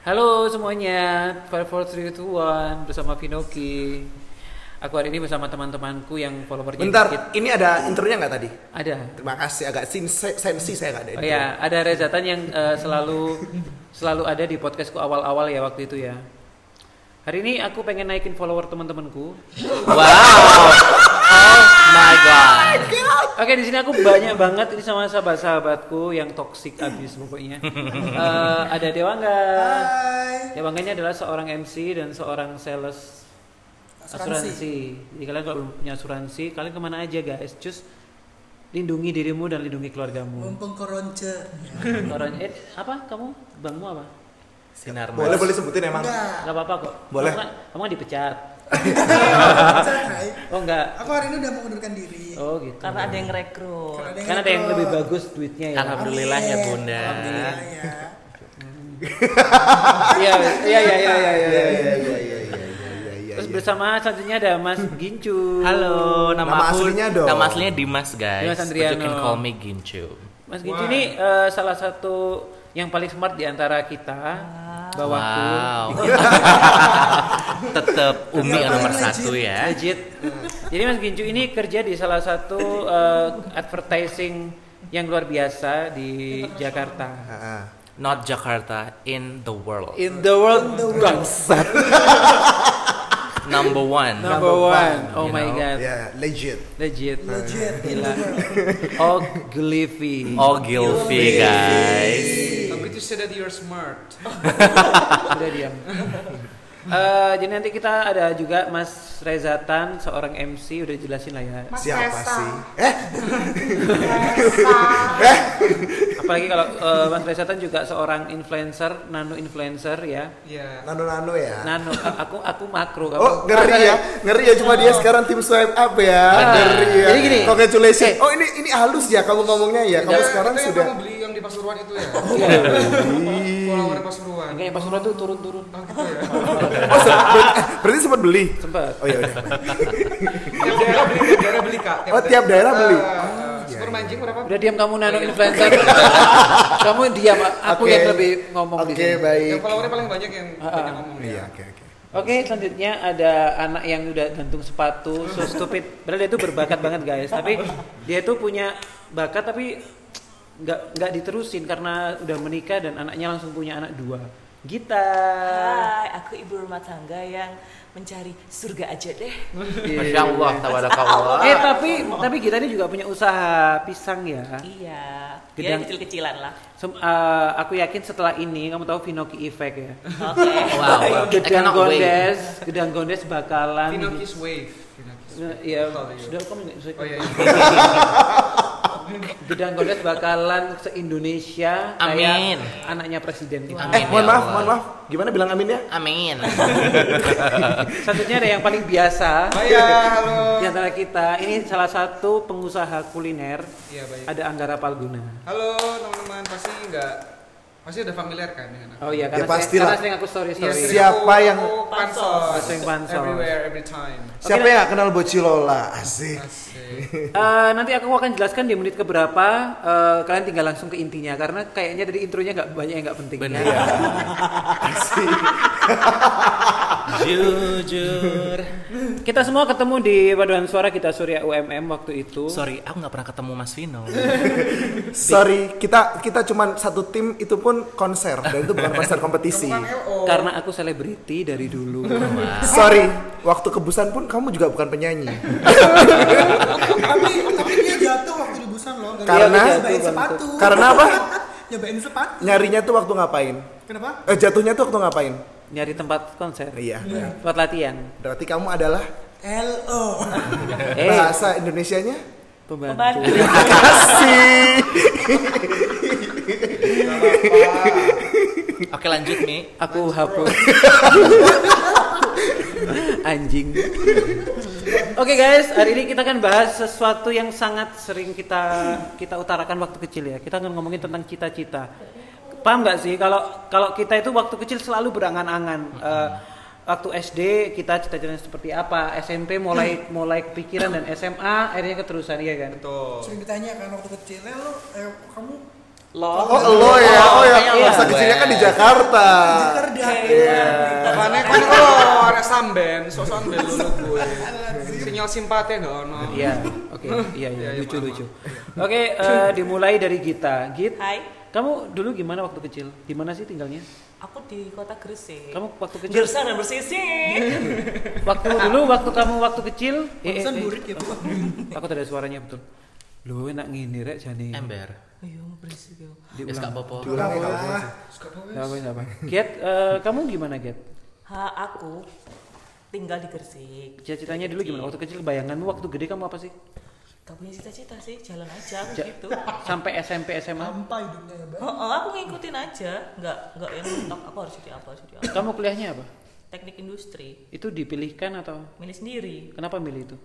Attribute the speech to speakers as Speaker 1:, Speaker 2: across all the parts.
Speaker 1: Halo semuanya, 54321 bersama Pinoki. Aku hari ini bersama teman-temanku yang followernya dikit.
Speaker 2: Bentar, ini ada intronya nggak tadi?
Speaker 1: Ada.
Speaker 2: Terima kasih, agak sinse- sensi saya nggak ada
Speaker 1: Oh
Speaker 2: intro.
Speaker 1: ya, ada Rezatan yang eh, selalu selalu ada di podcastku awal-awal ya waktu itu ya. Hari ini aku pengen naikin follower teman-temanku.
Speaker 3: Wow. Oh my god.
Speaker 1: Oke, di sini aku banyak banget ini sama sahabat-sahabatku yang toksik abis pokoknya. Eh, ada Dewangga. iya.
Speaker 2: Hai.
Speaker 1: Dewangganya Ya, adalah seorang MC dan seorang sales asuransi.
Speaker 2: Asuransi.
Speaker 1: Jadi kalian kalau belum punya asuransi, kalian kemana aja guys? Just lindungi dirimu dan lindungi keluargamu.
Speaker 4: Mumpung koronce.
Speaker 1: Orang eh apa kamu? Bangmu apa?
Speaker 3: Sinar
Speaker 2: Boleh
Speaker 3: Mas.
Speaker 2: boleh sebutin emang.
Speaker 4: Enggak.
Speaker 1: Gak apa-apa kok.
Speaker 2: Boleh.
Speaker 1: Kamu kan, kamu kan dipecat.
Speaker 4: Koronce, Kai.
Speaker 1: Oh enggak.
Speaker 4: Aku hari ini udah mengundurkan diri.
Speaker 1: Oh gitu.
Speaker 5: Karena ada yang rekrut.
Speaker 4: Karena
Speaker 1: Oh, Karena ada yang lebih
Speaker 4: ngetrol.
Speaker 1: bagus duitnya ya.
Speaker 3: Alhamdulillah ya
Speaker 4: Amin.
Speaker 3: Bunda.
Speaker 4: Alhamdulillah ya.
Speaker 1: Iya iya iya iya iya. iya.
Speaker 2: Iya iya iya iya iya iya iya.
Speaker 1: Terus
Speaker 2: iya.
Speaker 1: bersama selanjutnya ada Mas Gincu.
Speaker 3: Halo, nama,
Speaker 2: Nama
Speaker 3: aku-
Speaker 2: aslinya dong.
Speaker 3: Nama aslinya Dimas guys.
Speaker 1: Dimas
Speaker 3: But
Speaker 1: Andriano.
Speaker 3: You can call me Gincu.
Speaker 1: Mas Gincu ini eh, salah satu yang paling smart di antara kita. Bawahku.
Speaker 3: Wow. Tetep Umi yang nomor
Speaker 4: Legit.
Speaker 3: satu ya.
Speaker 1: Legit. Jadi Mas Gincu ini kerja di salah satu eh, advertising yang luar biasa di Jakarta.
Speaker 2: Heeh.
Speaker 3: Not Jakarta in the world.
Speaker 1: In the world, bangsat.
Speaker 3: Number one.
Speaker 1: Number one. Oh
Speaker 3: You
Speaker 1: my
Speaker 3: know?
Speaker 1: god.
Speaker 2: Ya, legit.
Speaker 1: Legit.
Speaker 4: Legit.
Speaker 1: Gila. Oh, Gliffy.
Speaker 3: Oh Gilfi guys.
Speaker 6: Tapi itu said that you're smart.
Speaker 1: Udah diam. Eh, jadi nanti kita ada juga Mas Reza Tan, seorang MC udah jelasin lah ya.
Speaker 5: Mas
Speaker 2: Siapa
Speaker 5: Reza.
Speaker 2: sih? Eh,
Speaker 1: Apalagi kalau eh, Mas Reza Tan juga seorang influencer, nano influencer ya.
Speaker 6: Ya.
Speaker 2: nano-nano ya.
Speaker 1: Nano, aku aku makro.
Speaker 2: Oh,
Speaker 1: Kamu-
Speaker 2: ngeri ya. Ngeri ya cuma dia sekarang tim swipe up ya. Ngeri ya.
Speaker 1: Jadi gini. eh. Iya.
Speaker 2: Congratulations. Oh, ini ini halus ya kamu ngomongnya ya. Kamu
Speaker 6: Ya,
Speaker 2: sekarang
Speaker 6: itu yang
Speaker 2: sudah Oh, iya.
Speaker 6: kamu beli yang di Pasuruan itu ya.
Speaker 2: Ih.
Speaker 6: Follower Pasuruan.
Speaker 1: Kayak Pak Surya tuh turun-turun.
Speaker 6: Oh gitu ya.
Speaker 2: Oh, se- ber- berarti sempat beli.
Speaker 1: Sempet.
Speaker 2: Oh iya udah.
Speaker 6: Tiap daerah beli, tiap daerah beli kak.
Speaker 2: Oh, tiap daerah beli.
Speaker 6: Eh,
Speaker 2: Oh, iya,
Speaker 6: Skor mancing berapa?
Speaker 1: Udah diam kamu nano influencer. kamu diam, aku
Speaker 2: Oke.
Speaker 1: yang lebih ngomong
Speaker 2: Oke,
Speaker 1: di sini.
Speaker 2: baik.
Speaker 6: Yang followernya paling banyak yang
Speaker 1: Ah,
Speaker 6: banyak
Speaker 1: ah.
Speaker 6: ngomong
Speaker 2: Iya,
Speaker 6: ya.
Speaker 2: oke oke.
Speaker 1: Oke, selanjutnya ada anak yang udah gantung sepatu, so stupid. Padahal dia itu berbakat banget guys, tapi dia itu punya bakat tapi nggak nggak diterusin karena udah menikah dan anaknya langsung punya anak dua. Gita.
Speaker 5: Hai, aku ibu rumah tangga yang mencari surga aja deh.
Speaker 1: Iya.
Speaker 3: Masya Allah, tabarakallah.
Speaker 1: Eh tapi tapi Gita ini juga punya usaha pisang ya.
Speaker 5: Iya, dia
Speaker 1: Gedang-
Speaker 5: kecil-kecilan lah.
Speaker 1: Sem- eh, aku yakin setelah ini kamu tahu Vinoki Effect ya.
Speaker 5: Oke.
Speaker 3: Wow, I
Speaker 1: Gedang
Speaker 3: cannot wait.
Speaker 1: Gondes, Gedang Gondes bakalan.
Speaker 6: Pinocchio's Wave. Pinocchio's Wave.
Speaker 1: Ya,
Speaker 6: Tahu ya.
Speaker 1: sudah kamu nggak sudah-
Speaker 6: Oh iya.
Speaker 1: Gedang Gondes bakalan se-Indonesia kayak
Speaker 3: Amin.
Speaker 1: anaknya presiden gitu.
Speaker 3: Amin.
Speaker 2: Eh, mohon
Speaker 3: ya
Speaker 2: maaf,
Speaker 3: Allah.
Speaker 2: mohon maaf. Gimana bilang ya? aminnya?
Speaker 3: Amin.
Speaker 1: Satunya ada yang paling biasa
Speaker 6: Oh iya, halo.
Speaker 1: di antara kita. Ini salah satu pengusaha kuliner.
Speaker 6: Iya baik.
Speaker 1: Ada Anggara Palguna.
Speaker 6: Halo teman-teman, pasti nggak pasti udah familiar kan dengan aku?
Speaker 1: Oh iya,
Speaker 2: Ya,
Speaker 1: karena, sering,
Speaker 2: pastilah.
Speaker 1: karena sering aku story
Speaker 6: Iya,
Speaker 1: story.
Speaker 6: sering
Speaker 2: Siapa
Speaker 6: aku-
Speaker 2: yang-
Speaker 6: aku pansos?
Speaker 1: Sering pansos.
Speaker 6: Everywhere, every time.
Speaker 2: Siapa yang gak kenal Bocilola? Asik.
Speaker 6: Asik.
Speaker 1: Eh, nanti aku akan jelaskan di menit keberapa. eh, kalian tinggal langsung ke intinya karena kayaknya dari intronya nggak banyak yang nggak penting.
Speaker 3: Bener.
Speaker 1: Ya.
Speaker 3: Jujur.
Speaker 1: Kita semua ketemu di paduan suara kita Surya UMM waktu itu.
Speaker 3: Sorry, aku nggak pernah ketemu Mas Vino.
Speaker 2: Sorry, kita kita cuman satu tim itu pun konser dan itu bukan konser kompetisi. Ah.
Speaker 1: Karena aku selebriti dari dulu.
Speaker 2: Sorry, waktu kebusan pun kamu juga bukan penyanyi.
Speaker 4: Tapi tapi dia jatuh waktu di busan loh. gara-gara
Speaker 2: Karena-
Speaker 1: Iya,
Speaker 4: dia nyobain sepatu.
Speaker 2: Karena apa?
Speaker 4: nyobain sepatu.
Speaker 2: Nyarinya tuh waktu ngapain?
Speaker 4: Kenapa?
Speaker 2: Eh, jatuhnya tuh waktu ngapain?
Speaker 1: Nyari tempat konser.
Speaker 2: Iya.
Speaker 1: Tempat latihan.
Speaker 2: Berarti kamu adalah
Speaker 4: LO.
Speaker 1: Eh,
Speaker 2: bahasa Indonesianya?
Speaker 1: pembantu.
Speaker 5: Pembantu.
Speaker 2: Kasih.
Speaker 3: Oke lanjut Mi.
Speaker 1: Aku hapus. Anjing. Oke guys, hari ini kita akan bahas sesuatu yang sangat sering kita kita utarakan waktu kecil ya. Kita akan ngomongin tentang cita-cita. Paham nggak sih kalau kalau kita itu waktu kecil selalu berangan-angan. Eh, waktu SD kita cita-citanya seperti apa, SMP mulai mulai kepikiran dan SMA akhirnya keterusan ya kan.
Speaker 6: Betul.
Speaker 4: Sering ditanya kan waktu kecil, "Eh, lo eh, kamu
Speaker 1: lo
Speaker 2: Oh, lo ya. Oh ya,
Speaker 1: kayaknya
Speaker 2: masa
Speaker 1: lo.
Speaker 2: kecilnya kan di Jakarta.
Speaker 4: Kerja.
Speaker 1: Iya.
Speaker 6: Makanya kan oh, ada samben, sok samben lu gue. Sinyal simpati gak ono.
Speaker 2: ya.
Speaker 1: Iya, oke, iya, iya,
Speaker 6: Iya, iya,
Speaker 1: lucu,
Speaker 6: maaf,
Speaker 1: lucu. Oke, eh, dimulai dari Gita. Git,
Speaker 5: Hai,
Speaker 1: kamu dulu gimana waktu kecil? Di mana sih tinggalnya?
Speaker 5: aku di kota Gresik.
Speaker 1: Kamu waktu kecil,
Speaker 5: Gersang dan bersisik.
Speaker 1: waktu dulu, waktu kamu waktu kecil, eh, eh,
Speaker 4: Pantesan
Speaker 1: eh,
Speaker 4: burik itu.
Speaker 1: aku tidak ada suaranya betul. Lu enak ngini rek jani.
Speaker 3: Ember.
Speaker 5: Ayo bersisik yo.
Speaker 3: Wis gak
Speaker 1: Iya. Diulang.
Speaker 3: apa-apa.
Speaker 2: Diulangi kalau boleh.
Speaker 1: Gak apa apa. Get, eh, kamu gimana Get?
Speaker 5: Ha, aku tinggal di Gresik.
Speaker 1: Cita-citanya dulu gimana? Waktu kecil bayanganmu waktu gede kamu apa sih?
Speaker 5: Gak punya cita-cita sih, jalan aja aku
Speaker 1: Ja-
Speaker 5: gitu.
Speaker 1: Sampai SMP SMA?
Speaker 4: Sampai hidupnya ya, Mbak.
Speaker 5: Oh, oh, aku ngikutin aja, nggak nggak yang mentok aku harus jadi apa, harus jadi apa.
Speaker 1: Kamu kuliahnya apa?
Speaker 5: Teknik industri,
Speaker 1: Itu dipilihkan atau
Speaker 5: milih sendiri.
Speaker 1: kenapa milih itu?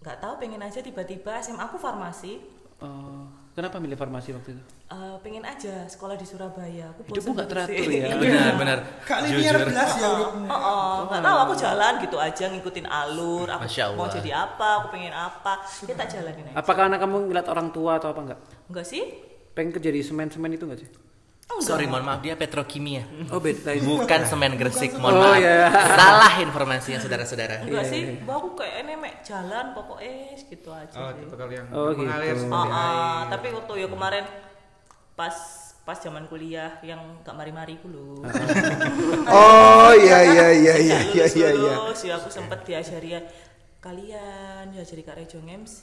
Speaker 5: Nggak tahu pengen aja tiba-tiba SMA aku farmasi,
Speaker 1: Eh, kenapa milih farmasi waktu itu?
Speaker 5: eh, pengen aja sekolah di Surabaya. Aku
Speaker 1: Hidupmu nggak
Speaker 5: bosen gitu Iya. di
Speaker 1: teratur
Speaker 5: Gresik.
Speaker 1: ya.
Speaker 3: Benar, benar.
Speaker 4: Kak linear
Speaker 3: Jujur.
Speaker 4: belas ya hidupmu.
Speaker 5: Oh, oh, nggak tahu aku jalan gitu aja ngikutin alur. Aku
Speaker 3: Masya
Speaker 5: mau
Speaker 3: Allah.
Speaker 5: jadi apa, aku pengen apa, kita tak jalanin aja.
Speaker 1: Apakah anak kamu ngeliat orang tua atau apa enggak?
Speaker 5: Enggak sih?
Speaker 1: Pengen kerja di semen-semen itu enggak sih?
Speaker 5: Oh, enggak.
Speaker 3: Sorry, mohon maaf dia petrokimia.
Speaker 1: Oh beda itu.
Speaker 3: Bukan semen Gresik, mohon
Speaker 1: Oh,
Speaker 3: maaf.
Speaker 1: iya.
Speaker 3: Salah informasinya saudara-saudara.
Speaker 5: Enggak
Speaker 1: Iya,
Speaker 5: sih,
Speaker 1: iya.
Speaker 5: Bah, aku kayaknya mek jalan pokoknya gitu aja.
Speaker 6: Oh,
Speaker 5: sih.
Speaker 6: tipikal yang
Speaker 1: Oh, gitu.
Speaker 6: mengalir
Speaker 5: Ah,
Speaker 6: seperti
Speaker 5: ah,
Speaker 6: air.
Speaker 5: tapi waktu ya kemarin pas pas zaman kuliah yang gak mari-mari ku lho.
Speaker 2: Oh iya iya iya iya
Speaker 5: Kayak
Speaker 2: iya iya. iya.
Speaker 5: lulus-lulus, Nah, ya aku sempet diajari ya, kalian diajari Kak Rejong MC,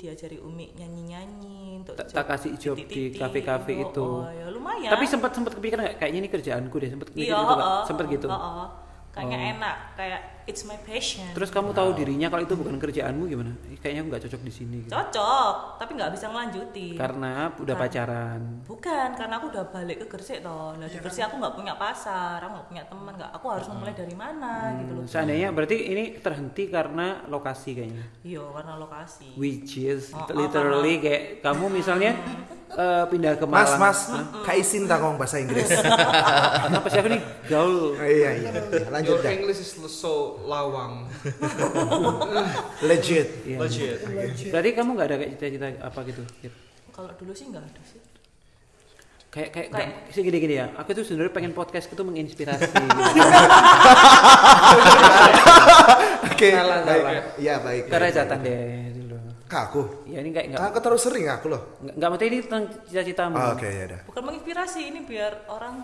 Speaker 5: diajari Umi nyanyi-nyanyi untuk
Speaker 1: Tak- tak kasih job di
Speaker 5: titik-titik,
Speaker 1: kafe-kafe
Speaker 5: oh,
Speaker 1: itu.
Speaker 5: oh, ya lumayan.
Speaker 1: Tapi sempat sempat kepikiran nggak kayaknya ini kerjaanku deh sempat mikir
Speaker 5: iya,
Speaker 1: gitu
Speaker 5: oh,
Speaker 1: nggak?
Speaker 5: oh,
Speaker 1: Sempat gitu.
Speaker 5: oh, oh. Kayaknya
Speaker 1: Oh.
Speaker 5: enak, kayak it's my passion.
Speaker 1: Terus kamu tahu dirinya kalau itu bukan kerjaanmu gimana? Ih, Kayaknya aku nggak cocok di sini. Gitu.
Speaker 5: cocok, tapi nggak bisa ngelanjutin.
Speaker 1: Karena udah
Speaker 5: Bukan.
Speaker 1: pacaran.
Speaker 5: Bukan, karena aku udah balik ke Gresik toh.
Speaker 1: Iya.
Speaker 5: Nah, di Gresik aku nggak punya pasar, aku nggak punya teman, nggak. Aku harus memulai dari mana gitu loh.
Speaker 1: Seandainya berarti ini terhenti karena lokasi kayaknya.
Speaker 5: Iya, karena lokasi.
Speaker 1: Which is
Speaker 5: Oh, oh,
Speaker 1: literally kayak kamu misalnya eh, pindah ke
Speaker 2: Mas
Speaker 1: Malang.
Speaker 2: mas, Kak Isin tak ngomong bahasa Inggris.
Speaker 1: Kenapa sih aku nih gaul?
Speaker 2: Oh, Iya iya. iya. Lanjut
Speaker 6: Your
Speaker 2: dah.
Speaker 6: English is so lawang.
Speaker 2: Legit.
Speaker 1: Iya.
Speaker 6: Legit.
Speaker 1: Berarti kamu nggak ada kayak cita-cita apa gitu? Gitu.
Speaker 5: Kalau dulu sih nggak ada sih.
Speaker 1: Kayak kayak
Speaker 5: Kayak-
Speaker 1: sih gini-gini ya. Aku tuh sebenarnya pengen podcast itu menginspirasi.
Speaker 2: Oke.
Speaker 1: Salah,
Speaker 2: baik.
Speaker 1: salah.
Speaker 2: Iya baik.
Speaker 1: Karena catatan deh gitu dulu.
Speaker 2: Kak aku.
Speaker 1: Ya Hmm. ini kayak nggak
Speaker 2: Kak aku terlalu sering aku loh.
Speaker 1: nggak nggak maksudnya ini tentang cita-citamu.
Speaker 2: Oh, Oke ya dah.
Speaker 5: Bukan menginspirasi, ini biar orang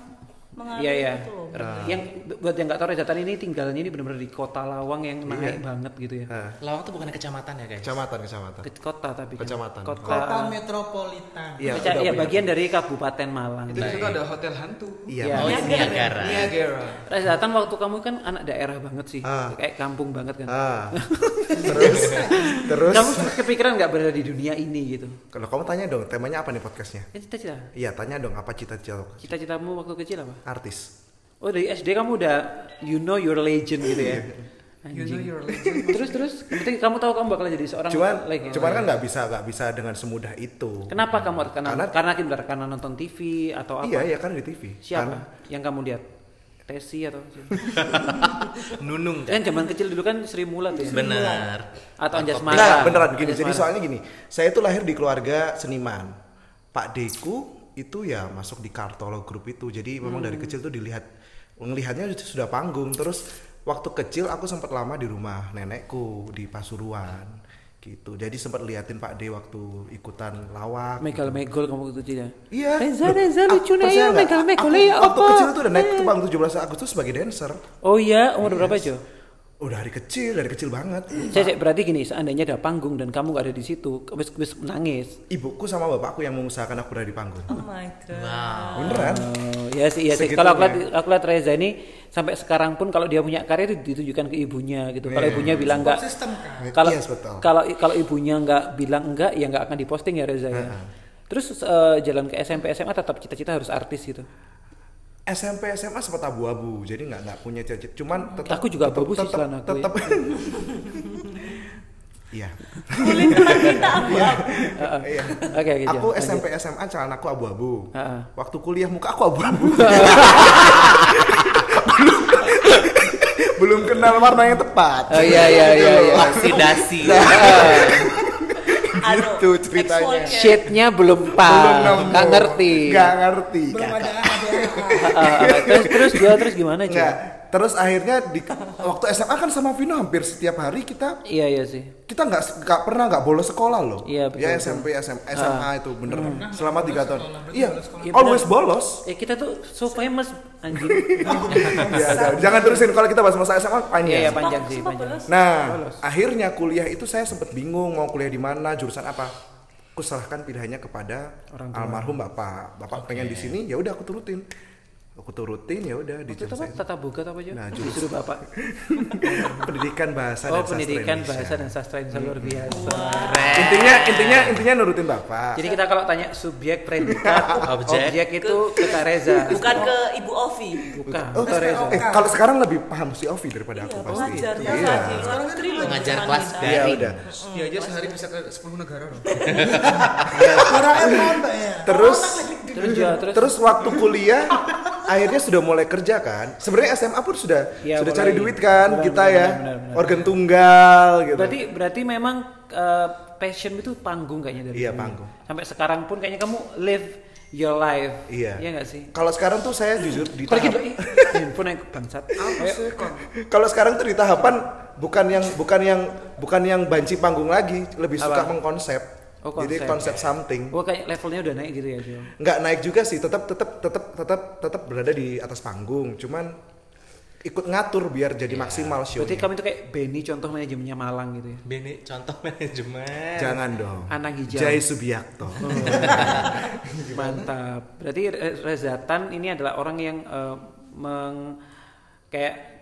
Speaker 5: mengalir
Speaker 1: Iya
Speaker 6: Nah,
Speaker 1: ya.
Speaker 5: gitu loh.
Speaker 2: Nah.
Speaker 1: Yang buat yang nggak tahu Rejatan ini tinggalnya ini benar-benar di kota Lawang yang
Speaker 2: Iya.
Speaker 1: naik banget gitu ya.
Speaker 2: Nah,
Speaker 3: Lawang tuh bukan kecamatan ya, guys?
Speaker 7: Kecamatan, kecamatan.
Speaker 1: Ke kota tapi kan.
Speaker 7: Kecamatan.
Speaker 1: Kota.
Speaker 4: Kota metropolitan.
Speaker 2: Iya.
Speaker 1: Keca-
Speaker 2: udah
Speaker 1: ya,
Speaker 2: punya.
Speaker 1: bagian dari Kabupaten Malang.
Speaker 6: Di situ ada hotel hantu.
Speaker 2: Nah, Iya.
Speaker 1: Iya.
Speaker 3: Oh,
Speaker 5: Niagara.
Speaker 3: itu Niagara.
Speaker 6: Niagara.
Speaker 1: Rejatan waktu kamu kan anak daerah banget sih.
Speaker 2: Ah.
Speaker 1: Kayak kampung banget kan.
Speaker 2: Ah. Terus terus.
Speaker 1: Kamu sempat kepikiran nggak berada di dunia ini gitu?
Speaker 2: Kalau kamu tanya dong, temanya apa nih podcastnya?
Speaker 1: Kan cita-cita.
Speaker 2: Iya, tanya dong apa cita-cita
Speaker 1: Cita-citamu waktu kecil apa?
Speaker 2: artis?
Speaker 1: Oh dari SD kamu udah you know your legend gitu
Speaker 2: Iya.
Speaker 1: ya.
Speaker 6: You know your legend.
Speaker 1: terus terus, penting kamu tahu kamu bakal jadi seorang
Speaker 2: Cuman,
Speaker 1: legend.
Speaker 2: cuman kan nggak bisa nggak bisa dengan semudah itu.
Speaker 1: ya. Iya. Kenapa kamu karena karena
Speaker 2: Karena-
Speaker 1: karena, kinder, karena nonton TV atau apa?
Speaker 2: Iya, iya kan di TV.
Speaker 1: Siapa
Speaker 2: Karena-
Speaker 1: yang kamu lihat? Tesi atau
Speaker 3: Nunung.
Speaker 1: kan zaman kecil dulu kan Sri Mulat ya.
Speaker 3: Benar.
Speaker 1: Atau Anjas Mara.
Speaker 2: Nah, beneran gini.
Speaker 1: Anjas
Speaker 2: Jadi
Speaker 1: Mara.
Speaker 2: soalnya gini, saya itu lahir di keluarga seniman. Pak Deku itu ya masuk di Kartolo Group itu. Jadi memang
Speaker 1: Hmm.
Speaker 2: dari kecil tuh dilihat ngelihatnya sudah panggung. Terus waktu kecil aku sempat lama di rumah nenekku di Pasuruan gitu. Jadi sempat liatin Pak D waktu ikutan lawak.
Speaker 1: Megal megol kamu waktu kecil ya.
Speaker 2: Iya.
Speaker 1: Reza
Speaker 2: Loh,
Speaker 1: Reza
Speaker 2: aku
Speaker 1: lucu
Speaker 2: percaya
Speaker 1: ya
Speaker 2: nggak?
Speaker 1: megal megol
Speaker 2: Aku
Speaker 1: ya
Speaker 2: Waktu
Speaker 1: apa? Eh.
Speaker 2: kecil tuh udah naik tuh bang 17 Agustus sebagai dancer.
Speaker 1: Oh iya, umur berapa Jo?
Speaker 2: Udah dari kecil, dari kecil banget.
Speaker 1: Cek, cek, berarti gini, seandainya ada panggung dan kamu nggak ada di situ, wis wis nangis.
Speaker 2: Ibuku sama bapakku yang mengusahakan aku berada di panggung.
Speaker 5: Oh my god.
Speaker 3: Nah.
Speaker 2: Beneran?
Speaker 1: Oh, ya sih, ya sih. Kalau
Speaker 2: Segitunya.
Speaker 1: aku lihat, aku lihat Reza ini sampai sekarang pun kalau dia punya karya itu ditujukan ke ibunya gitu. Kalau ibunya bilang enggak,
Speaker 4: Iya, Sistem kan.
Speaker 1: kalau
Speaker 2: Yes, Iya, betul.
Speaker 1: kalau kalau ibunya enggak bilang enggak, ya enggak akan diposting ya Reza ya. Terus eh, jalan ke SMP SMA tetap cita-cita harus artis gitu.
Speaker 2: SMP SMA sempat abu-abu jadi nggak nggak punya cita cuman tetap
Speaker 1: Aku juga
Speaker 2: tetap-
Speaker 1: abu-abu sih
Speaker 2: tetap-
Speaker 1: celanaku ya.
Speaker 2: tetap iya
Speaker 5: Kulit kulit kita apa?
Speaker 2: iya
Speaker 1: Oke, oke. Jo,
Speaker 2: aku
Speaker 1: lanjut.
Speaker 2: SMP SMA celanaku abu-abu
Speaker 1: Heeh.
Speaker 2: waktu kuliah muka aku abu-abu Belum- belum kenal
Speaker 1: iya,
Speaker 2: warna yang tepat
Speaker 1: Oh iya iya iya iya.
Speaker 3: Oksidasi.
Speaker 5: Anu,
Speaker 2: itu ceritanya.
Speaker 5: Ex-wall.
Speaker 1: Shitnya belum
Speaker 2: Belum
Speaker 1: pas,
Speaker 2: nemu.
Speaker 1: nggak ngerti.
Speaker 2: Nggak ngerti.
Speaker 4: belum
Speaker 2: kakak.
Speaker 4: ada ada
Speaker 1: Ah, ah, terus terus dua terus gimana cuy?
Speaker 2: Nggak. Terus akhirnya di waktu SMA kan sama Vino hampir setiap hari kita
Speaker 1: Iya iya sih.
Speaker 2: kita nggak nggak pernah nggak bolos sekolah loh.
Speaker 1: Iya, betul,
Speaker 2: ya
Speaker 1: betul. Ah. Hmm.
Speaker 2: SMP SMA, itu bener. Selama tiga tahun. Iya.
Speaker 1: Iya,
Speaker 2: Always
Speaker 1: bener.
Speaker 2: bolos.
Speaker 1: Ya kita tuh so famous anjing.
Speaker 2: Iya, jangan- jangan terusin kalau kita bahas masa SMA
Speaker 1: Iya iya
Speaker 2: panjang.
Speaker 1: panjang
Speaker 5: Aku
Speaker 1: sih
Speaker 5: sempat
Speaker 1: panjang.
Speaker 5: bolos.
Speaker 2: Nah, akhirnya kuliah itu saya sempat bingung mau kuliah di mana, jurusan apa. Aku serahkan pilihannya kepada almarhum bapak. Bapak pengen di sini, ya udah aku turutin. Aku turutin ya udah di
Speaker 1: Itu apa
Speaker 2: jurusan
Speaker 1: tata buka atau apa cuy?
Speaker 2: Nah, jurus.
Speaker 1: Disuruh bapak.
Speaker 2: pendidikan bahasa
Speaker 1: Oh
Speaker 2: dan sastra
Speaker 1: pendidikan
Speaker 2: Indonesia.
Speaker 1: bahasa dan sastra Indonesia luar biasa.
Speaker 2: Intinya intinya intinya nurutin bapak.
Speaker 1: Jadi kita kalau tanya subjek, predikat, objek,
Speaker 3: Objek.
Speaker 1: itu kita Reza.
Speaker 5: bukan ke Ibu Ovi
Speaker 1: Bukan.
Speaker 2: Oh,
Speaker 1: Kita Reza.
Speaker 2: eh, kalau sekarang lebih paham si Ovi daripada
Speaker 5: iya
Speaker 2: aku pasti.
Speaker 5: pengajar
Speaker 2: Iya.
Speaker 5: kelas lagi luar negeri loh
Speaker 3: Pengajar
Speaker 5: jurusan
Speaker 3: kelas
Speaker 5: kan kita.
Speaker 3: dari-
Speaker 2: Iya udah.
Speaker 6: Dia aja sehari bisa ke 10 negara loh.
Speaker 4: Doraemon mbak ya
Speaker 2: Terus
Speaker 1: Terus juga terus,
Speaker 2: terus waktu kuliah akhirnya sudah mulai kerja kan. Sebenarnya SMA pun sudah
Speaker 1: Iya,
Speaker 2: sudah
Speaker 1: mulai.
Speaker 2: cari duit kan
Speaker 1: Benar,
Speaker 2: kita
Speaker 1: benar,
Speaker 2: ya.
Speaker 1: benar, benar.
Speaker 2: Organ tunggal gitu.
Speaker 1: berarti berarti memang eh, passion itu panggung kayaknya dari
Speaker 2: Iya,
Speaker 1: dulu.
Speaker 2: panggung.
Speaker 1: Sampai sekarang pun kayaknya kamu live your life.
Speaker 2: iya.
Speaker 1: Iya nggak sih?
Speaker 2: Kalau sekarang tuh saya jujur di
Speaker 1: Pergi
Speaker 2: tahap-
Speaker 1: dulu. ih, Handphone yang bangsat. Ayo.
Speaker 2: Kalau sekarang tuh di tahapan bukan yang bukan yang bukan yang banci panggung lagi, lebih suka
Speaker 1: Apa?
Speaker 2: mengkonsep.
Speaker 1: Oh,
Speaker 2: Jadi
Speaker 1: konsep.
Speaker 2: konsep something.
Speaker 1: Wah kayak levelnya udah naik gitu ya, Jon.
Speaker 2: nggak naik juga sih tetap tetap tetap tetap tetap berada di atas panggung cuman ikut ngatur biar jadi maksimal show
Speaker 1: Iya. Berarti kamu itu kayak Benny contoh manajemennya Malang gitu ya.
Speaker 3: Bene contoh manajemen.
Speaker 1: Iya.
Speaker 2: jangan dong
Speaker 1: Anang hijau.
Speaker 2: Jai Subiakto
Speaker 1: Mantap. Berarti Re- Reza Tan ini adalah orang yang eh, meng kayak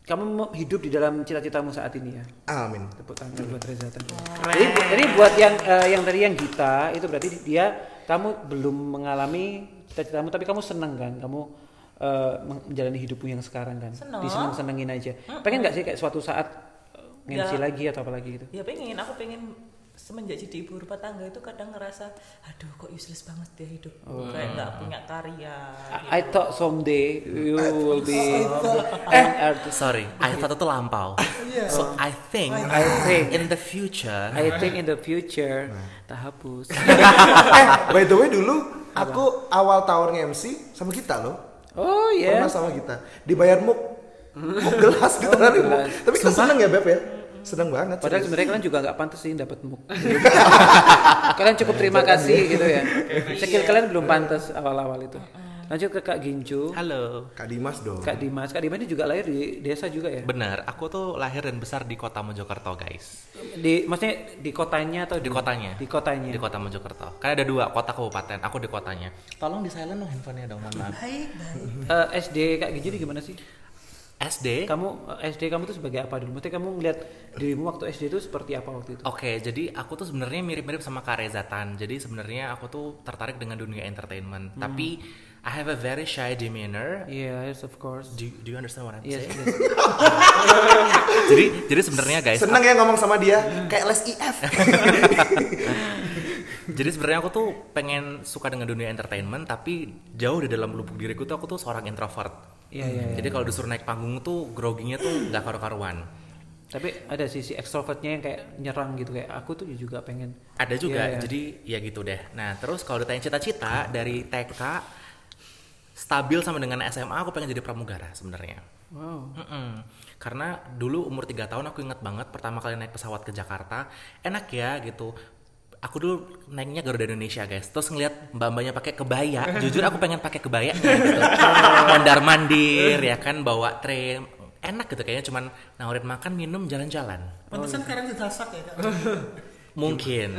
Speaker 1: kamu mau hidup di dalam cita-citamu saat ini ya.
Speaker 2: amin
Speaker 1: Tepuk tangan buat Reza Tan. Jadi, bu- jadi buat yang eh, yang tadi yang Gita itu berarti dia kamu belum mengalami cita-citamu tapi kamu seneng kan? Kamu eh, men- menjalani hidupmu yang sekarang kan?
Speaker 5: Seneng.
Speaker 1: Diseneng-senengin aja. Pengen nggak sih kayak suatu saat eh, nge-MC
Speaker 5: Nggak.
Speaker 1: lagi atau apa lagi gitu?
Speaker 5: ya pengen aku pengen semenjak jadi ibu rumah tangga itu kadang ngerasa aduh kok useless banget dia hidup kayak nggak punya karya
Speaker 1: I thought someday you will be an
Speaker 3: Eh,
Speaker 1: artist.
Speaker 3: sorry. I thought itu lampau. So I think
Speaker 1: Iya. I think
Speaker 3: in the future
Speaker 1: I think in the future terhapus.
Speaker 2: eh by the way dulu aku awal tawar nge-MC sama kita loh
Speaker 1: Oh ya.
Speaker 2: pernah sama kita dibayar muk muk gelas
Speaker 1: Oh,
Speaker 2: gitu lari muk tapi kita seneng ya Beb ya seneng banget
Speaker 1: Padahal
Speaker 2: serius.
Speaker 1: sebenarnya kalian juga nggak pantas sih dapat muk. kalian cukup terima kasih gitu ya. Skill kalian belum pantas awal-awal itu. Lanjut ke Kak Gincu,
Speaker 3: Halo.
Speaker 2: Kak Dimas dong
Speaker 1: Kak Dimas. Kak Dimas ini juga lahir di desa juga ya.
Speaker 3: Benar, aku tuh lahir dan besar di kota Mojokerto, guys.
Speaker 1: Di maksudnya di kotanya atau
Speaker 3: Di kotanya.
Speaker 1: Di kotanya.
Speaker 3: Di kota Mojokerto. Karena ada dua kota kabupaten. Aku di kotanya. Tolong di silent dong handphonenya dong, mohon maaf.
Speaker 1: Eh, SD Kak Gincu ini gimana sih?
Speaker 3: SD.
Speaker 1: Kamu eh, SD kamu tuh sebagai apa dulu? Maksudnya kamu ngeliat dirimu waktu SD itu seperti apa waktu itu?
Speaker 3: Oke, jadi aku tuh sebenarnya mirip-mirip sama Kak Reza Tan. Jadi sebenarnya aku tuh tertarik dengan dunia entertainment. Tapi I have a very shy demeanor.
Speaker 1: Yes, of course.
Speaker 3: Do, do you understand what I'm
Speaker 1: Yes,
Speaker 3: saying?
Speaker 1: yes.
Speaker 3: jadi jadi sebenarnya guys,
Speaker 2: seneng ya ngomong sama
Speaker 1: Hmm.
Speaker 2: dia kayak les IF
Speaker 3: Jadi sebenarnya aku tuh pengen suka dengan dunia entertainment tapi jauh di dalam lubuk diriku tuh aku tuh seorang introvert.
Speaker 1: Iya, iya, iya.
Speaker 3: Jadi kalau disuruh naik panggung tuh groggingnya tuh nggak karu-karuan.
Speaker 1: Tapi ada sisi ekstrovertnya yang kayak nyerang gitu kayak aku tuh juga pengen.
Speaker 3: Ada juga.
Speaker 1: Iya, iya.
Speaker 3: Jadi ya gitu deh. Nah, terus kalau ditanya cita-cita dari TK stabil sama dengan SMA aku pengen jadi pramugara sebenarnya.
Speaker 1: Wow.
Speaker 3: Mm-mm. Karena dulu umur 3 tahun aku ingat banget pertama kali naik pesawat ke Jakarta, enak ya gitu. Aku dulu naiknya Garuda Indonesia guys, terus ngeliat mbak-mbaknya pakai kebaya, jujur aku pengen pakai kebaya gitu. Mandar mandir ya kan, bawa tray, enak gitu kayaknya cuman nawarin makan minum jalan-jalan.
Speaker 4: pantesan kalian didasak ya kak
Speaker 3: Mungkin.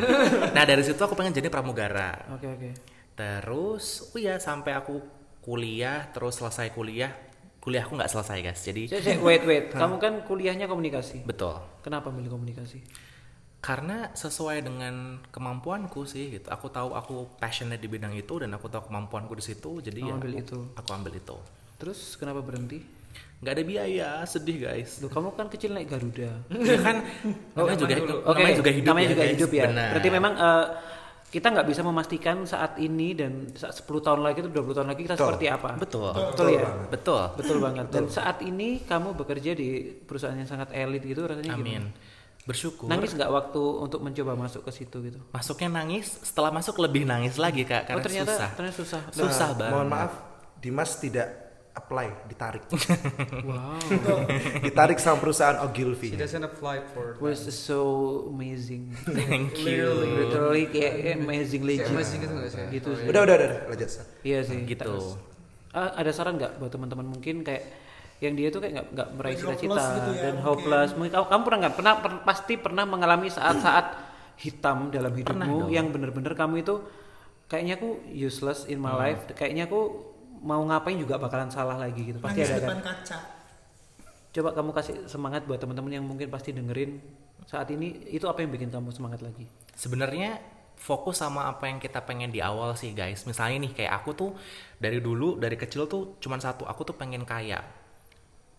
Speaker 3: Nah dari situ aku pengen jadi pramugara.
Speaker 1: Oke oke.
Speaker 3: Terus, oh iya sampai aku kuliah, terus selesai kuliah, kuliah aku nggak selesai guys, jadi
Speaker 1: Cek, cek, wait wait. Kamu kan kuliahnya komunikasi.
Speaker 3: betul.
Speaker 1: Kenapa milih komunikasi?
Speaker 3: karena sesuai dengan kemampuanku sih gitu aku tahu aku passionate di bidang itu dan aku tahu kemampuanku di situ jadi
Speaker 1: Kamu
Speaker 3: ya
Speaker 1: ambil
Speaker 3: aku,
Speaker 1: itu.
Speaker 3: aku ambil itu
Speaker 1: Terus kenapa berhenti?
Speaker 3: nggak ada biaya sedih guys
Speaker 1: Loh, kamu kan kecil naik Garuda.
Speaker 3: ya kan namanya juga hidup
Speaker 1: Oh, Oke,
Speaker 3: namanya juga hidup
Speaker 1: namanya
Speaker 3: ya,
Speaker 1: juga
Speaker 3: guys.
Speaker 1: hidup ya.
Speaker 3: Benar.
Speaker 1: Berarti memang eh, kita nggak bisa memastikan saat ini dan saat 10 tahun lagi atau 20 tahun lagi kita seperti apa.
Speaker 3: betul
Speaker 1: Betul ya.
Speaker 3: betul
Speaker 1: Betul banget. Dan saat ini kamu bekerja di perusahaan yang sangat elit gitu rasanya
Speaker 3: amin
Speaker 1: gimana?
Speaker 3: bersyukur
Speaker 1: Nangis nggak waktu untuk mencoba masuk ke situ gitu?
Speaker 3: masuknya nangis setelah masuk lebih nangis lagi kak karena
Speaker 1: Oh ternyata
Speaker 3: susah
Speaker 1: ternyata susah.
Speaker 2: Nah,
Speaker 3: susah banget
Speaker 2: Mohon maaf, Dimas tidak apply, ditarik.
Speaker 1: Wow,
Speaker 2: ditarik sama perusahaan Oh, Ogilvy.
Speaker 6: He doesn't apply for that.
Speaker 1: was so amazing.
Speaker 3: thank you
Speaker 1: Literally
Speaker 6: Literally.
Speaker 1: kayak amazing legend.
Speaker 6: Amazing gitu nggak sih?
Speaker 1: Gitu sih.
Speaker 2: Udah, udah, udah, lanjut. Sa.
Speaker 1: Iya sih.
Speaker 3: gitu
Speaker 1: Terus, ah, ada saran nggak buat teman-teman mungkin kayak yang dia tuh kayak nggak nggak meraih
Speaker 4: Dan
Speaker 1: cita-cita
Speaker 4: hopeless gitu
Speaker 1: dan
Speaker 4: ya, mungkin.
Speaker 1: hopeless. Mungkin kamu, kamu pernah nggak pernah per- pasti pernah mengalami saat-saat hitam dalam hidupmu yang bener-bener kamu itu kayaknya aku useless in my life. Kayaknya aku mau ngapain juga bakalan salah lagi gitu. Pasti
Speaker 4: Nangis
Speaker 1: ada kan.
Speaker 4: depan kaca.
Speaker 1: Coba kamu kasih semangat buat teman-teman yang mungkin pasti dengerin saat ini itu apa yang bikin kamu semangat lagi?
Speaker 3: sebenarnya fokus sama apa yang kita pengen di awal sih guys misalnya nih kayak aku tuh dari dulu dari kecil tuh cuman satu aku tuh pengen kaya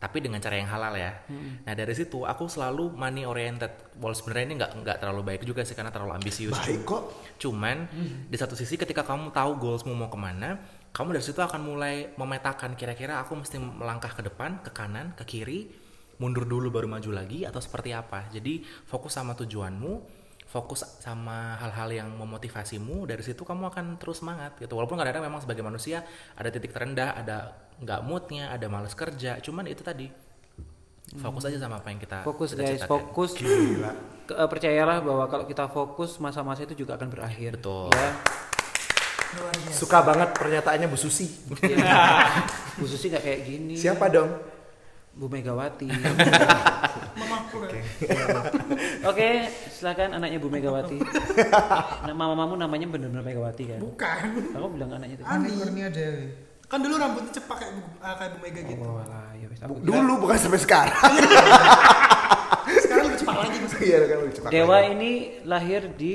Speaker 3: tapi dengan cara yang halal ya nah dari situ aku selalu money oriented walau sebenarnya ini nggak nggak terlalu baik juga sih karena terlalu ambisius
Speaker 2: Baik kok.
Speaker 3: Cuman di satu sisi ketika kamu tahu goalsmu mau kemana, kamu dari situ akan mulai memetakan kira-kira aku mesti melangkah ke depan, ke kanan, ke kiri, mundur dulu baru maju lagi atau seperti apa. Jadi fokus sama tujuanmu, fokus sama hal-hal yang memotivasimu. Dari situ kamu akan terus semangat gitu. Walaupun kadang-kadang memang sebagai manusia ada titik terendah, ada nggak moodnya, ada males kerja. Cuman itu tadi fokus aja sama apa yang kita
Speaker 1: Fokus
Speaker 3: kita
Speaker 1: guys,
Speaker 3: cita-citakan.
Speaker 1: fokus. Ke- eh, percayalah bahwa kalau kita fokus masa-masa itu juga akan berakhir.
Speaker 3: Betul.
Speaker 1: Ya.
Speaker 2: Suka banget pernyataannya Bu Susi.
Speaker 1: Bu Susi Iya. nggak kayak gini.
Speaker 2: Siapa dong?
Speaker 1: Bu Megawati.
Speaker 4: Mamaku ya.
Speaker 1: Oke, silakan anaknya Bu Megawati. Nama mamamu namanya benar-benar Megawati kan?
Speaker 4: Bukan.
Speaker 1: Aku bilang anaknya itu.
Speaker 4: Ani.
Speaker 6: Kurnia Dewi.
Speaker 4: Kan dulu rambutnya cepak kayak Bu- ah, kayak Bu Mega gitu.
Speaker 1: Oh, alah, ya wes, aku kira-
Speaker 2: Dulu bukan sampai sekarang.
Speaker 4: Sekarang lebih cepak lagi Mas.
Speaker 2: Iya kan lucu banget.
Speaker 1: Dewa ini lahir di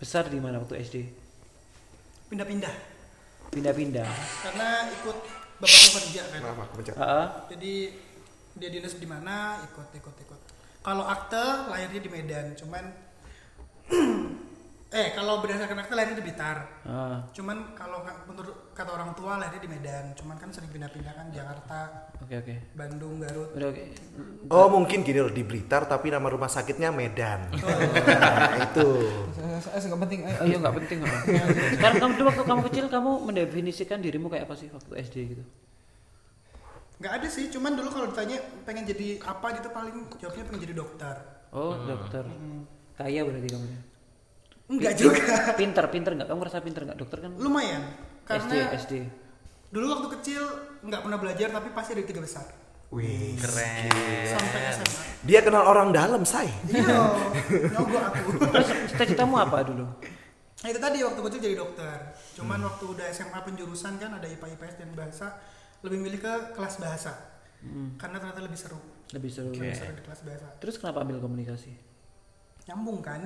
Speaker 1: besar di mana waktu SD?
Speaker 4: Pindah-pindah.
Speaker 1: Pindah-pindah.
Speaker 4: Karena ikut bapakku kerja kan.
Speaker 2: Maaf aku mencet.
Speaker 1: Heeh.
Speaker 4: Jadi dia dinas di mana, ikut ikut ikut. Kalau akte lahirnya di Medan, cuman eh kalau berdasarkan akte lahirnya di Blitar.
Speaker 1: Heeh.
Speaker 4: Cuman kalau ka- menurut kata orang tua lahirnya di Medan, cuman kan sering pindah-pindah kan Jakarta,
Speaker 1: Oke oke.
Speaker 4: Bandung, Garut.
Speaker 1: Udah oke.
Speaker 2: Oh mungkin gini loh di Blitar tapi nama rumah sakitnya Medan. Nah, itu.
Speaker 6: Saya nggak penting. ayo.
Speaker 1: Ayo Oh, iya, nggak penting apa. Sekarang kamu dulu waktu kamu kecil kamu mendefinisikan dirimu kayak apa sih waktu SD gitu?
Speaker 4: Nggak ada sih, cuman dulu kalau ditanya pengen jadi apa gitu paling jawabnya pengen jadi dokter.
Speaker 1: Oh dokter. Kaya berarti kamu. ya?
Speaker 4: Enggak juga.
Speaker 1: Pinter pinter nggak? Kamu ngerasa pinter nggak? Dokter kan
Speaker 4: Lumayan.
Speaker 1: SD
Speaker 4: Karena
Speaker 1: SD.
Speaker 4: dulu waktu kecil nggak pernah belajar tapi pasti ada di tiga besar.
Speaker 2: Wih.
Speaker 1: Eh.
Speaker 4: Sampai SMA.
Speaker 2: Dia kenal orang dalam say.
Speaker 4: Iya, nyogo aku.
Speaker 1: Terus cita-citamu apa dulu?
Speaker 4: Nah, itu tadi waktu kecil jadi dokter. Cuman
Speaker 1: Hmm.
Speaker 4: waktu udah SMA penjurusan kan ada IPA IPS dan bahasa, lebih milih ke kelas bahasa.
Speaker 1: Hmm.
Speaker 4: Karena ternyata lebih seru.
Speaker 1: Lebih seru.
Speaker 4: Lebih seru di kelas bahasa.
Speaker 1: Terus kenapa ambil komunikasi?
Speaker 4: Nyambung kan?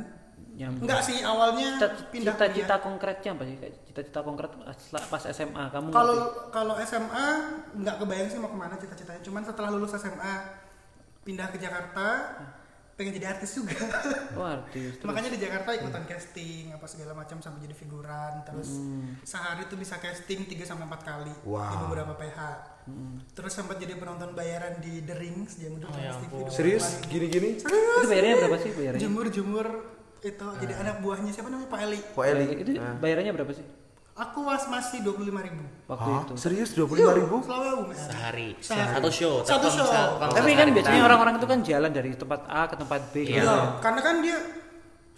Speaker 1: Nyambung.
Speaker 4: Enggak sih awalnya
Speaker 1: Hmm. Cita-
Speaker 4: pindah
Speaker 1: Cita-cita
Speaker 4: kuliah.
Speaker 1: konkretnya apa sih? Kayak Cita-cita konkret setelah pas SMA kamu
Speaker 4: Kalau
Speaker 1: ngerti?
Speaker 4: kalau SMA nggak kebayang sih mau kemana cita-citanya. Cuman setelah lulus SMA pindah ke Jakarta, pengen jadi artis juga.
Speaker 1: oh, artis. Terus,
Speaker 4: Makanya di Jakarta ikutan casting apa segala macam sampai jadi figuran terus sehari tuh bisa casting 3 sampai 4 kali di
Speaker 2: Hmm. Wow. Hmm.
Speaker 4: beberapa PH. Terus sempat jadi penonton bayaran di The Rings yang udah casting video
Speaker 2: Serius gini-gini?
Speaker 4: Serius.
Speaker 1: itu bayarnya berapa sih bayarnya?
Speaker 4: Jemur-jemur itu
Speaker 2: Eh.
Speaker 4: jadi anak buahnya siapa namanya Pak Eli.
Speaker 2: Kok Eli?
Speaker 1: Itu bayarannya berapa sih?
Speaker 4: Aku was masih 25.000 ribu.
Speaker 1: Waktu
Speaker 2: Hah?
Speaker 1: itu.
Speaker 2: Serius 25 ribu?
Speaker 4: Selalu UMR.
Speaker 3: sehari
Speaker 4: Sehari.
Speaker 3: satu show
Speaker 4: Satu
Speaker 3: telkom,
Speaker 4: show.
Speaker 3: telkom,
Speaker 1: Tapi kan
Speaker 3: sehari.
Speaker 1: biasanya orang-orang itu kan jalan dari tempat A ke tempat B.
Speaker 4: Iya.
Speaker 1: gitu.
Speaker 4: Karena kan dia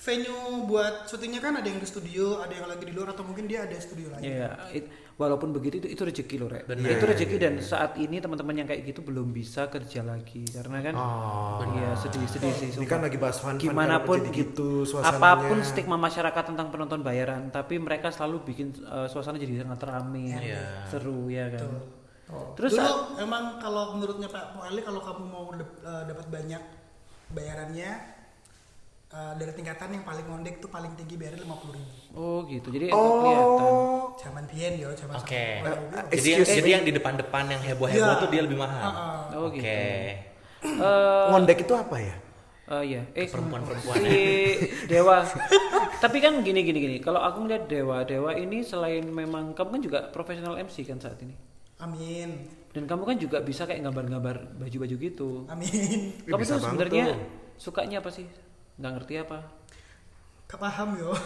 Speaker 4: venue buat syutingnya kan ada yang di studio, ada yang lagi di luar atau mungkin dia ada studio lain.
Speaker 1: Iya, it- walaupun begitu itu, itu rezeki loh, Rek.
Speaker 3: Benar. Iya,
Speaker 1: Itu rezeki dan saat ini teman-teman yang kayak gitu belum bisa kerja lagi karena kan
Speaker 3: Oh.
Speaker 1: iya sedih-sedih sih.
Speaker 2: Ini
Speaker 1: sumpah.
Speaker 2: kan lagi bahas fun
Speaker 1: gimana pun
Speaker 2: gitu suasananya.
Speaker 1: apapun stigma masyarakat tentang penonton bayaran, tapi mereka selalu bikin eh, suasana jadi sangat rame,
Speaker 3: Iya.
Speaker 1: seru ya kan. Terus
Speaker 4: Terus
Speaker 1: saat-
Speaker 4: dulu emang kalau menurutnya Pak Muali kalau kamu mau dap- eh, dapat banyak bayarannya eh, dari tingkatan yang paling ngondek tuh paling tinggi bayarnya lima puluh ribu.
Speaker 1: oh gitu, jadi enak kelihatan.
Speaker 2: Oh.
Speaker 4: Zaman Bien yo,
Speaker 3: oke
Speaker 4: zaman sekarang.
Speaker 3: jadi yang,
Speaker 2: Eh, Excuse
Speaker 3: jadi yang di depan-depan yang heboh-heboh
Speaker 4: Iya.
Speaker 3: tuh dia lebih mahal
Speaker 1: Oh,
Speaker 3: Ah, oke
Speaker 1: gitu. Eh,
Speaker 2: Ngondek itu apa ya?
Speaker 1: Oh iya, eh
Speaker 3: perempuan-perempuan
Speaker 1: si Dewa. Tapi kan gini gini gini. Kalau aku melihat Dewa, Dewa ini selain memang kamu kan juga profesional MC kan saat ini.
Speaker 4: Amin,
Speaker 1: Dan kamu kan juga bisa kayak gambar-gambar baju-baju gitu.
Speaker 4: amin.
Speaker 2: Ih,
Speaker 1: Kamu
Speaker 2: bisa
Speaker 1: tuh
Speaker 2: banget
Speaker 1: sebenarnya
Speaker 2: tuh.
Speaker 1: sukanya apa sih nggak ngerti apa
Speaker 4: Kepaham yo.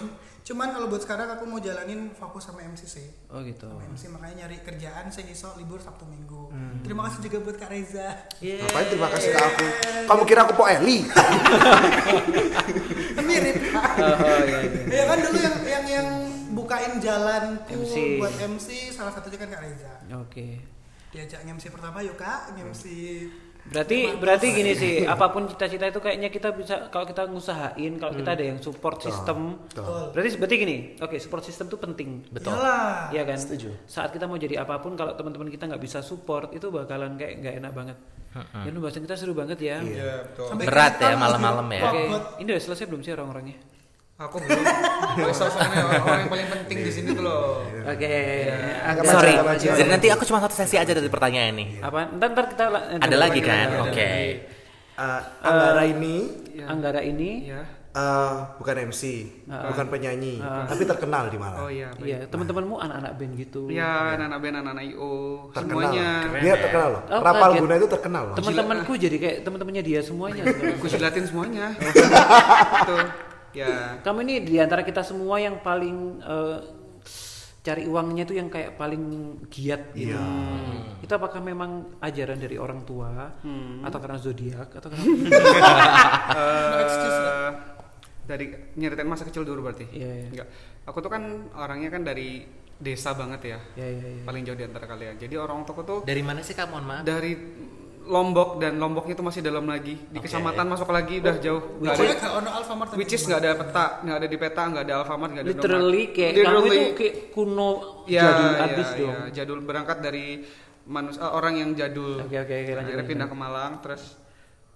Speaker 4: Cuman kalau buat sekarang aku mau jalanin fokus sama MCC.
Speaker 1: oh gitu
Speaker 4: Sama MC makanya nyari kerjaan saya iso libur Sabtu Minggu. Terima kasih juga buat Kak Reza.
Speaker 2: Ngapain terima kasih ke aku? Kamu kira aku po Eli? Eh,
Speaker 4: Mirip.
Speaker 1: oh, oh, iya, iya.
Speaker 4: ya kan dulu yang yang yang bukain jalan
Speaker 1: MC.
Speaker 4: buat MC salah satunya kan Kak Reza.
Speaker 1: oke
Speaker 4: Diajak MC pertama yuk Kak, MC
Speaker 1: berarti berarti gini sih apapun cita-cita itu kayaknya kita bisa kalau kita ngusahain kalau kita
Speaker 2: Hmm.
Speaker 1: ada yang support sistem
Speaker 4: Betul.
Speaker 1: berarti berarti gini oke support system itu penting
Speaker 3: Betul.
Speaker 4: Iyalah.
Speaker 1: Iya kan? Saat kita mau jadi apapun kalau teman-teman kita nggak bisa support itu bakalan kayak nggak enak banget. Ya ini bahasan kita seru banget ya.
Speaker 6: Iya, betul.
Speaker 4: Sampai gitu.
Speaker 3: Berat
Speaker 4: kelihatan
Speaker 3: ya,
Speaker 4: lagi.
Speaker 3: malam-malam ya.
Speaker 1: Oke,
Speaker 4: Robot.
Speaker 1: ini udah selesai belum sih orang-orangnya?
Speaker 6: Aku belum. Gue soalnya orang yang paling penting di sini tuh loh.
Speaker 2: Iya.
Speaker 1: Oke.
Speaker 2: Nggak
Speaker 1: agak-
Speaker 3: Iya. Sorry,
Speaker 2: Nggak baca.
Speaker 3: jadi nanti aku cuma satu sesi aja dari pertanyaan ini.
Speaker 2: Iya.
Speaker 1: Apa? Ntar, ntar kita la-
Speaker 3: Ada lagi kan?
Speaker 1: Ada.
Speaker 3: Oke.
Speaker 2: Eh, Anggara ini
Speaker 1: Anggara ini,
Speaker 6: Iya.
Speaker 2: eh, bukan MC, bukan penyanyi, tapi terkenal di Malang.
Speaker 6: Oh iya. baik.
Speaker 1: iya teman-temanmu anak-anak band gitu.
Speaker 6: Iya, anak-anak band, anak-anak IO,
Speaker 2: Terkenal.
Speaker 6: semuanya.
Speaker 2: Dia terkenal loh.
Speaker 1: Oh,
Speaker 2: Rapal
Speaker 1: kaget.
Speaker 2: Guna itu terkenal loh.
Speaker 1: Teman-temanku jadi kayak teman-temannya dia semuanya.
Speaker 6: Aku jilatin semuanya. Tuh. Ya.
Speaker 1: Kamu ini diantara kita semua yang paling eh, cari uangnya tuh yang kayak paling giat gitu. Itu apakah memang ajaran dari orang tua
Speaker 6: Hmm.
Speaker 1: atau karena zodiak atau karena
Speaker 6: Eh, dari nyeritain masa kecil dulu berarti.
Speaker 1: Iya, iya.
Speaker 6: Enggak. Aku tuh kan orangnya kan dari desa banget ya.
Speaker 1: ya, ya, ya.
Speaker 6: Paling jauh di antara kalian. Jadi orang tuaku tuh
Speaker 3: Dari mana sih kamu, mohon maaf?
Speaker 6: dari Lombok dan Lomboknya itu masih dalam lagi di
Speaker 3: Oke.
Speaker 6: kecamatan masuk lagi
Speaker 1: Oh,
Speaker 6: udah jauh nggak
Speaker 4: Pokoknya
Speaker 6: ada
Speaker 4: gak ono Alfamart tapi
Speaker 6: which is nggak ada peta nggak ada di peta nggak ada Alfamart nggak ada
Speaker 1: literally
Speaker 6: Indomaret.
Speaker 1: kayak kamu
Speaker 6: Literally,
Speaker 1: itu kayak kuno
Speaker 6: ya,
Speaker 1: jadul
Speaker 6: ya,
Speaker 1: abis
Speaker 6: ya,
Speaker 1: dong.
Speaker 6: jadul berangkat dari manus eh, orang yang jadul
Speaker 1: Oke, oke, oke, lanjut,
Speaker 6: akhirnya
Speaker 1: lanjut.
Speaker 6: pindah ke Malang terus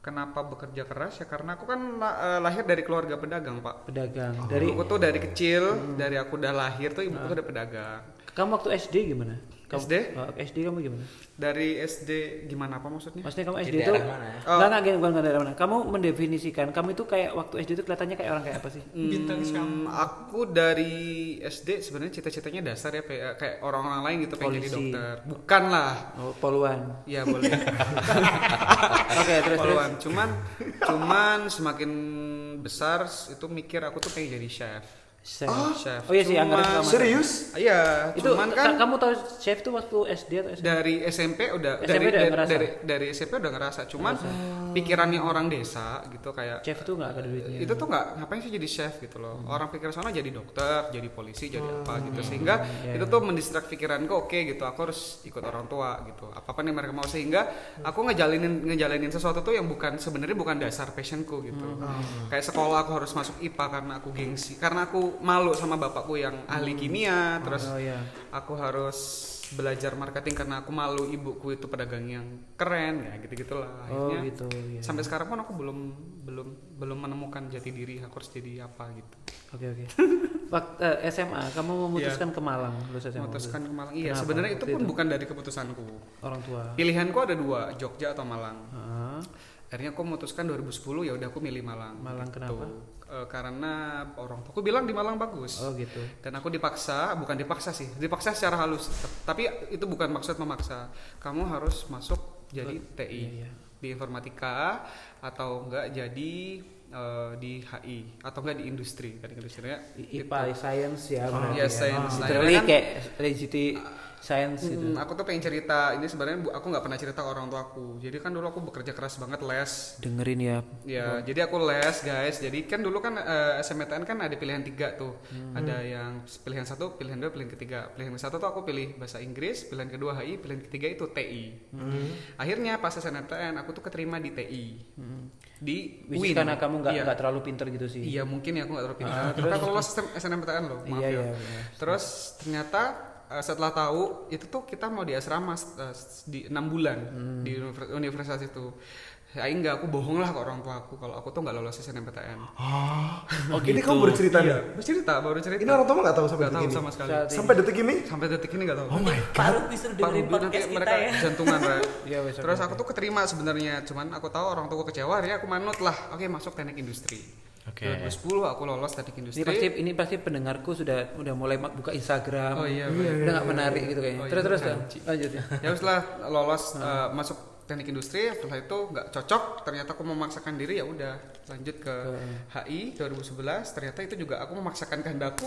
Speaker 6: kenapa bekerja keras ya karena aku kan la- eh, lahir dari keluarga pedagang pak
Speaker 1: Pedagang. Dari Hmm. Ah.
Speaker 6: aku tuh dari kecil dari aku udah lahir tuh ibuku tuh udah pedagang
Speaker 1: kamu waktu SD gimana? Kamu,
Speaker 6: SD?
Speaker 1: Oh, SD kamu gimana?
Speaker 6: dari SD gimana apa maksudnya
Speaker 1: Maksudnya kamu
Speaker 3: Di
Speaker 1: SD itu
Speaker 3: daerah mana
Speaker 6: Oh.
Speaker 3: ya?
Speaker 1: Enggak, enggak, gini, bukan bukan daerah mana. Kamu mendefinisikan kamu itu kayak waktu SD itu kelihatannya kayak orang kayak apa sih?
Speaker 4: bintang siapa?
Speaker 6: Hmm, aku dari SD sebenarnya cita-citanya dasar ya kayak kayak orang-orang lain gitu pengen jadi
Speaker 1: Polisi.
Speaker 6: dokter. Bukan lah.
Speaker 1: Oh, poluan.
Speaker 6: Ya boleh.
Speaker 1: Oke, terus terus.
Speaker 6: Poluan. Cuman cuman semakin besar itu mikir aku tuh pengen jadi chef.
Speaker 1: Chef.
Speaker 6: Chef.
Speaker 1: Oh iya sih,
Speaker 6: Cuman-
Speaker 1: Anggara sama.
Speaker 2: Serius?
Speaker 6: Iya,
Speaker 1: Itu
Speaker 6: Ah, cuman
Speaker 1: ta-
Speaker 6: kan
Speaker 1: kamu tahu chef itu waktu SD atau SD?
Speaker 6: dari SMP udah
Speaker 1: SMP
Speaker 6: dari,
Speaker 1: udah
Speaker 6: dari,
Speaker 1: ngerasa?
Speaker 6: dari dari SMP udah ngerasa. Cuman pikirannya orang desa gitu kayak
Speaker 1: Chef itu nggak ada duitnya.
Speaker 6: itu tuh nggak ngapain sih jadi chef gitu loh
Speaker 1: Hmm.
Speaker 6: orang pikir sana jadi dokter jadi polisi jadi
Speaker 1: Oh,
Speaker 6: apa
Speaker 1: iya,
Speaker 6: gitu sehingga itu tuh mendistrak pikiranku oke gitu aku harus ikut orang tua gitu apapun yang mereka mau sehingga
Speaker 1: Hmm.
Speaker 6: aku ngejalinin ngejalinin sesuatu tuh yang bukan sebenarnya bukan dasar passionku gitu
Speaker 1: Hmm.
Speaker 6: kayak sekolah aku harus masuk IPA karena aku gengsi karena aku malu sama bapakku yang ahli kimia terus
Speaker 1: Hmm. Oh iya.
Speaker 6: aku harus belajar marketing karena aku malu ibuku itu pedagang yang keren ya gitu gitulah
Speaker 1: Oh
Speaker 6: akhirnya
Speaker 1: gitu. iya.
Speaker 6: sampai sekarang pun aku belum belum belum menemukan jati diri aku harus jadi apa gitu
Speaker 1: Oke oke. Waktu eh, SMA kamu memutuskan ke Malang lulus SMA.
Speaker 6: Iya. memutuskan ke Malang iya
Speaker 1: Kenapa
Speaker 6: sebenarnya itu
Speaker 1: waktu
Speaker 6: pun bukan dari keputusanku
Speaker 1: Orang tua.
Speaker 6: pilihanku ada dua Jogja atau Malang
Speaker 1: Ah,
Speaker 6: akhirnya aku memutuskan 2010 ya udah aku milih Malang
Speaker 1: Malang
Speaker 6: Gitu.
Speaker 1: kenapa?
Speaker 6: Eh, karena orang aku bilang di Malang bagus
Speaker 1: oh gitu.
Speaker 6: dan aku dipaksa bukan dipaksa sih dipaksa secara halus T- tapi itu bukan maksud memaksa kamu harus masuk jadi TI
Speaker 1: iya, iya.
Speaker 6: di informatika atau enggak jadi eh, di HI atau enggak di industri kan industrinya
Speaker 1: I- IPA science ya. berarti
Speaker 6: iya, science. Nah,
Speaker 1: Literally
Speaker 6: kan-
Speaker 1: kayak legit science gitu.
Speaker 6: Hmm, aku tuh pengen cerita ini sebenarnya bu- aku nggak pernah cerita ke orang tua aku jadi kan dulu aku bekerja keras banget les
Speaker 1: Dengerin ya.
Speaker 6: Ya, jadi aku les guys. Jadi kan dulu kan eh, SMPTN kan ada pilihan tiga tuh.
Speaker 1: Hmm.
Speaker 6: Ada yang pilihan satu, pilihan dua, pilihan ketiga. Pilihan satu tuh aku pilih bahasa Inggris, pilihan kedua HI, pilihan ketiga itu TI.
Speaker 1: Hmm.
Speaker 6: Akhirnya pas SNMPTN aku tuh keterima di TI.
Speaker 1: Hmm,
Speaker 6: Di
Speaker 1: Which is
Speaker 6: UIN.
Speaker 1: karena kamu nggak
Speaker 6: Iya.
Speaker 1: nggak terlalu pinter gitu sih.
Speaker 6: Iya mungkin ya aku nggak terlalu pintar. Tapi aku lolos SN- SNMPTN loh. Maaf
Speaker 1: Ah, Iya,
Speaker 6: ya.
Speaker 1: iya, benar.
Speaker 6: Terus ternyata eh, setelah tahu itu tuh kita mau di asrama eh, di enam bulan di
Speaker 1: Hmm.
Speaker 6: univer- universitas itu. Aing nggak aku bohong lah ke orang tua aku kalau aku tuh nggak lolos SNMPTN.
Speaker 2: Ini kamu baru cerita nih.
Speaker 6: Baru cerita, baru cerita.
Speaker 2: Ini orang tua nggak tahu sampai
Speaker 6: Nggak tahu
Speaker 2: detik ini.
Speaker 6: sama sekali.
Speaker 1: Saat-
Speaker 2: Sampai detik ini?
Speaker 6: Sampai detik ini nggak tahu.
Speaker 2: Oh my
Speaker 5: Pak Rubi suruh
Speaker 6: Pak Rubi
Speaker 5: dengerin
Speaker 6: nanti
Speaker 5: podcast kita
Speaker 6: mereka
Speaker 5: ya.
Speaker 6: jantungan Ren.
Speaker 1: Iya, wes,
Speaker 6: Terus
Speaker 1: oke,
Speaker 6: aku tuh keterima sebenarnya, cuman aku tahu orang tua aku kecewa, akhirnya aku manut lah. Oke, masuk teknik industri.
Speaker 3: Oke.
Speaker 6: 2010 aku lolos teknik
Speaker 1: Ini
Speaker 6: industri.
Speaker 1: pasti ini pasti pendengarku sudah udah mulai mak- buka Instagram.
Speaker 6: Oh, iya,
Speaker 1: udah nggak menarik gitu kayaknya.
Speaker 6: Oh, iya,
Speaker 1: terus terus
Speaker 6: bukan.
Speaker 1: lanjut.
Speaker 6: ya wis lah lolos eh, masuk teknik industri setelah itu nggak cocok ternyata aku memaksakan diri ya udah lanjut ke HI 2011 ternyata itu juga aku memaksakan kehendakku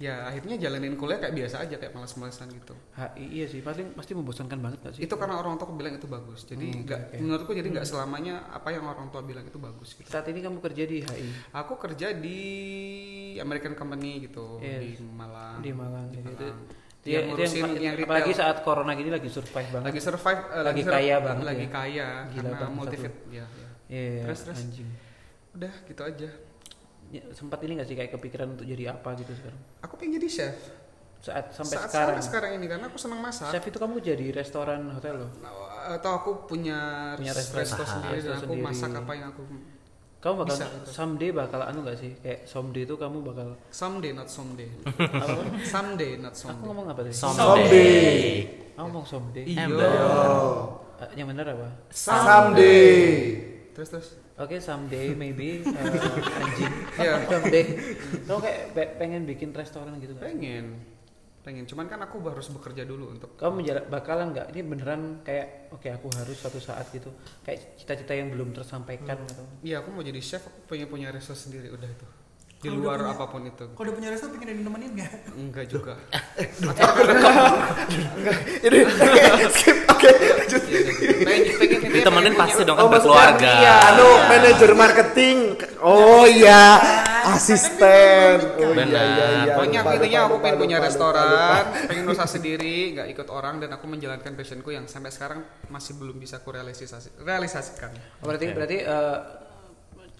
Speaker 6: ya akhirnya jalanin kuliah kayak biasa aja kayak malas-malasan gitu
Speaker 1: HI iya sih paling pasti membosankan banget gak sih
Speaker 6: itu karena orang tua aku bilang itu bagus jadi
Speaker 1: Hmm,
Speaker 6: nggak menurutku jadi nggak selamanya apa yang orang tua bilang itu bagus gitu
Speaker 1: saat ini kamu kerja di HI
Speaker 6: aku kerja di American Company gitu
Speaker 1: Yes.
Speaker 6: di Malang
Speaker 1: di Malang gitu itu
Speaker 6: Malang.
Speaker 1: dia,
Speaker 6: Yang
Speaker 1: dia
Speaker 6: ngurusin
Speaker 1: yang,
Speaker 6: yang retail.
Speaker 1: apalagi saat corona gini lagi survive banget
Speaker 6: lagi survive eh,
Speaker 1: Lagi
Speaker 6: survive-
Speaker 1: kaya banget
Speaker 6: lagi
Speaker 1: ya.
Speaker 6: kaya
Speaker 1: Gila
Speaker 6: karena
Speaker 1: banget
Speaker 6: multifit ya, ya.
Speaker 1: Iya,
Speaker 6: Terus, terus.
Speaker 1: anjing
Speaker 6: udah gitu aja
Speaker 1: Ya, sempat ini gak sih kayak kepikiran untuk jadi apa gitu sekarang
Speaker 6: aku pengen jadi chef
Speaker 1: saat sampai sekarang,
Speaker 6: saat sekarang sekarang ini karena aku senang masak
Speaker 1: chef itu kamu jadi restoran hotel loh
Speaker 6: Nah, atau aku punya,
Speaker 1: Punya
Speaker 6: resto,
Speaker 1: restoran.
Speaker 6: sendiri
Speaker 1: Resto
Speaker 6: dan aku
Speaker 1: sendiri.
Speaker 6: masak apa yang aku
Speaker 1: kamu bakal
Speaker 6: Bisa, gitu.
Speaker 1: someday bakal anu gak sih kayak someday itu kamu bakal
Speaker 6: someday not someday
Speaker 1: apa?
Speaker 6: someday not
Speaker 1: aku
Speaker 6: someday
Speaker 1: ngomong apa tadi
Speaker 2: Someday.
Speaker 1: Aku ngomong someday
Speaker 6: Iya.
Speaker 1: Eh, yang bener apa
Speaker 2: Someday.
Speaker 6: terus terus
Speaker 1: Oke, someday maybe uh, anjing.
Speaker 6: Iya.
Speaker 1: someday. Kamu kayak pe- pengen bikin restoran gitu kan?
Speaker 6: pengen pengen cuman kan aku harus bekerja dulu untuk
Speaker 1: Kamu menjala- bakalan nggak? Ini beneran kayak oke aku harus suatu saat gitu. Kayak cita-cita yang belum tersampaikan gitu.
Speaker 6: iya aku mau jadi chef aku pengen punya resto sendiri udah itu di
Speaker 4: Kalau udah
Speaker 6: luar
Speaker 4: punya-
Speaker 6: apapun itu
Speaker 4: Kalau udah punya resto pengen ada yang nemenin nggak?
Speaker 6: enggak juga
Speaker 2: Jadi skip. Oke. lanjut.
Speaker 6: Iya, iya, iya. pengen pengen pengen-
Speaker 3: Ditemenin
Speaker 6: pengen
Speaker 3: pasti
Speaker 6: punya-
Speaker 3: dong kan
Speaker 2: Iya. maksudnya,
Speaker 3: berkeluarga.
Speaker 2: Iya, anu manajer marketing. Oh iya, asisten. Oh iya iya iya.
Speaker 6: Pokoknya aku
Speaker 2: Lupa,
Speaker 6: intinya
Speaker 2: lupa,
Speaker 6: aku
Speaker 2: lupa,
Speaker 6: pengen punya
Speaker 2: lupa, lupa,
Speaker 6: restoran,
Speaker 2: lupa.
Speaker 6: pengen usaha sendiri, nggak ikut orang dan aku menjalankan passionku yang sampai sekarang masih belum bisa aku realisasi realisasikan.
Speaker 1: Berarti berarti eh,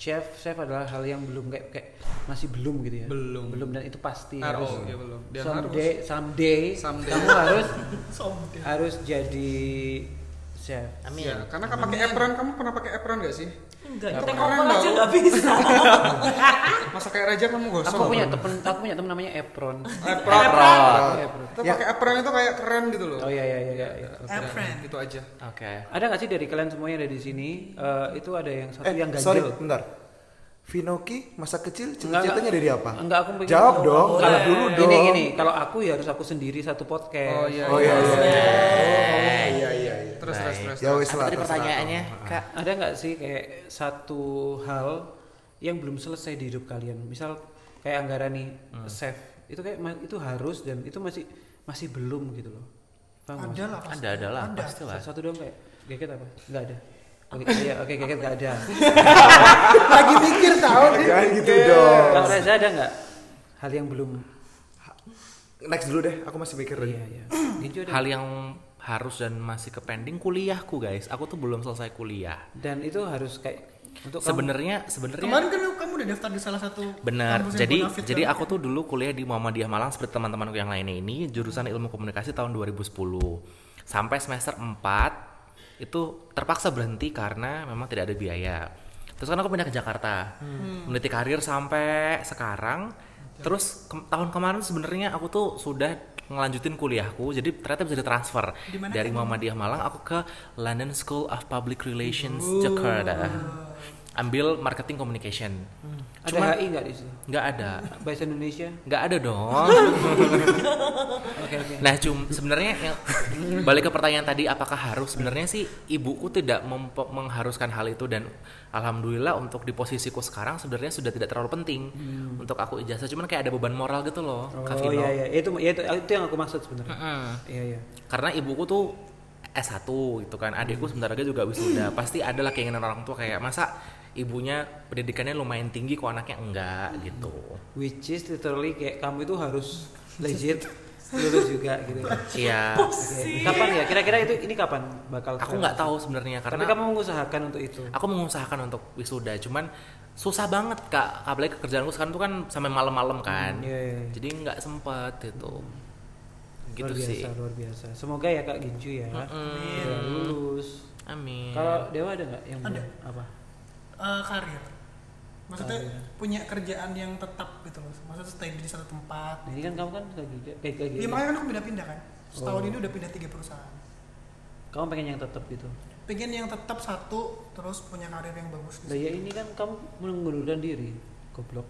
Speaker 1: chef chef adalah hal yang belum kayak kayak masih belum gitu ya.
Speaker 6: Belum.
Speaker 1: Belum dan itu pasti
Speaker 6: Harus,
Speaker 1: harus.
Speaker 6: ya belum. Dan
Speaker 1: someday someday,
Speaker 6: Someday.
Speaker 1: kamu harus
Speaker 4: Someday.
Speaker 1: harus jadi chef.
Speaker 6: Amin. Ya, karena kamu pakai apron, kamu pernah pakai apron gak sih? Nggak
Speaker 5: Enggak, kita
Speaker 6: pernah
Speaker 5: ngomong aja
Speaker 6: tahu.
Speaker 5: nggak bisa.
Speaker 6: Masa kayak raja kamu gosong.
Speaker 1: Aku punya temen aku punya temen namanya Epron.
Speaker 6: apron.
Speaker 1: Epron.
Speaker 6: Itu pakai apron itu kayak keren gitu loh.
Speaker 1: Oh iya iya iya. iya.
Speaker 4: Apron.
Speaker 6: Gitu aja.
Speaker 3: Oke.
Speaker 1: Ada nggak sih dari kalian semua yang ada di sini eh, itu ada yang satu
Speaker 2: Eh,
Speaker 1: yang ganjil?
Speaker 2: sorry, bentar. Vinoki masa kecil cita-citanya dari apa?
Speaker 1: Enggak aku pikir-
Speaker 2: Jawab dong,
Speaker 1: Kalau-
Speaker 2: jawab dulu dong.
Speaker 1: iya. Ini gini, kalau aku ya harus aku sendiri satu podcast.
Speaker 6: Oh iya.
Speaker 2: Oh iya iya. iya. Oh iya iya iya.
Speaker 6: Terus
Speaker 1: Nah,
Speaker 6: terus terus.
Speaker 2: Ya
Speaker 3: Apa
Speaker 2: wis lah.
Speaker 3: tadi
Speaker 2: terserah.
Speaker 3: pertanyaannya,
Speaker 2: iya.
Speaker 3: Kak?
Speaker 1: Ada nggak sih kayak satu hal yang belum selesai di hidup kalian? Misal kayak Anggara nih,
Speaker 6: Hmm.
Speaker 1: chef. Itu kayak ma- itu harus dan itu masih masih belum gitu loh. Paham
Speaker 4: Ada
Speaker 1: nggak?
Speaker 4: lah pasti.
Speaker 3: Oh, Ada ada lah,
Speaker 4: Ada.
Speaker 3: pastilah.
Speaker 1: Satu dong kayak geget apa? Enggak ada. Oke, iya, oke geget nggak ada.
Speaker 4: Lagi mikir tau.
Speaker 2: Jangan gitu dong.
Speaker 1: Kalau Reza ada nggak hal yang belum?
Speaker 2: Next dulu deh, aku masih mikir
Speaker 1: Iya,
Speaker 2: lagi.
Speaker 1: iya. Gitu ada.
Speaker 3: Hal yang harus dan masih ke pending kuliahku guys. Aku tuh belum selesai kuliah.
Speaker 1: Dan itu harus kayak untuk kamu-
Speaker 3: Sebenarnya sebenarnya
Speaker 4: Kemarin kan kamu udah daftar di salah satu
Speaker 3: Benar.
Speaker 4: kampus yang
Speaker 3: Jadi
Speaker 4: bonafit
Speaker 3: jadi
Speaker 4: kan?
Speaker 3: aku tuh dulu kuliah di Muhammadiyah Malang seperti teman-temanku yang lainnya ini jurusan Ilmu Komunikasi tahun 2010. Sampai semester 4 itu terpaksa berhenti karena memang tidak ada biaya. Terus kan aku pindah ke Jakarta.
Speaker 4: Hmm.
Speaker 3: Meniti karir sampai sekarang. Terus ke- tahun kemarin sebenarnya aku tuh sudah ngelanjutin kuliahku jadi ternyata bisa ditransfer dari Muhammadiyah Malang aku ke London School of Public Relations Jakarta ambil marketing communication
Speaker 1: ada HI nggak di situ?
Speaker 3: nggak ada
Speaker 1: Bahasa Indonesia.
Speaker 3: nggak ada dong
Speaker 1: Oke oke.
Speaker 3: nah cum sebenarnya yang- balik ke pertanyaan tadi apakah harus sebenarnya sih ibuku tidak mempe- mengharuskan hal itu dan alhamdulillah untuk di posisiku sekarang sebenarnya sudah tidak terlalu penting untuk aku ijazah cuman kayak ada beban moral gitu loh Kak
Speaker 1: Hmm. Oh
Speaker 3: Vino.
Speaker 1: iya iya itu ya, itu itu yang aku maksud sebenarnya.
Speaker 3: Mm-mm.
Speaker 1: Iya iya.
Speaker 3: karena ibuku tuh S1 gitu kan adikku
Speaker 1: Hmm.
Speaker 3: sebentar lagi juga wisuda pasti adalah keinginan orang tua kayak masa ibunya pendidikannya lumayan tinggi kok anaknya enggak gitu
Speaker 1: Which is literally kayak kamu itu harus legit lulus juga gitu. Oke.
Speaker 3: iya
Speaker 4: Oh,
Speaker 1: Kapan ya? Kira-kira itu ini kapan bakal?
Speaker 3: aku nggak tahu sebenarnya
Speaker 1: Tapi
Speaker 3: karena
Speaker 1: kamu mengusahakan untuk itu.
Speaker 3: aku mengusahakan untuk wisuda cuman susah banget kak apalagi kekerjaanku sekarang tuh kan sampai malam-malam kan
Speaker 1: Iya, iya, iya.
Speaker 3: jadi nggak sempet gitu gitu
Speaker 1: luar biasa,
Speaker 3: sih
Speaker 1: luar biasa. Semoga ya Kak Ginju ya. Segera lulus.
Speaker 3: amin
Speaker 1: Kalau Dewa ada nggak yang
Speaker 4: Ada.
Speaker 1: belum? apa?
Speaker 4: Eh, karir. Maksudnya punya kerjaan yang tetap gitu loh. Maksudnya stay di satu tempat.
Speaker 1: Nah, ini kan kamu kan lagi kayak lagi.
Speaker 4: Ya makanya kan aku pindah-pindah kan. Setahun ini udah pindah tiga perusahaan.
Speaker 1: Kamu pengen yang tetap gitu.
Speaker 4: Pengen yang tetap satu terus punya karir yang bagus
Speaker 1: Lah
Speaker 4: gitu.
Speaker 1: ya ini kan kamu mengundurkan diri, goblok.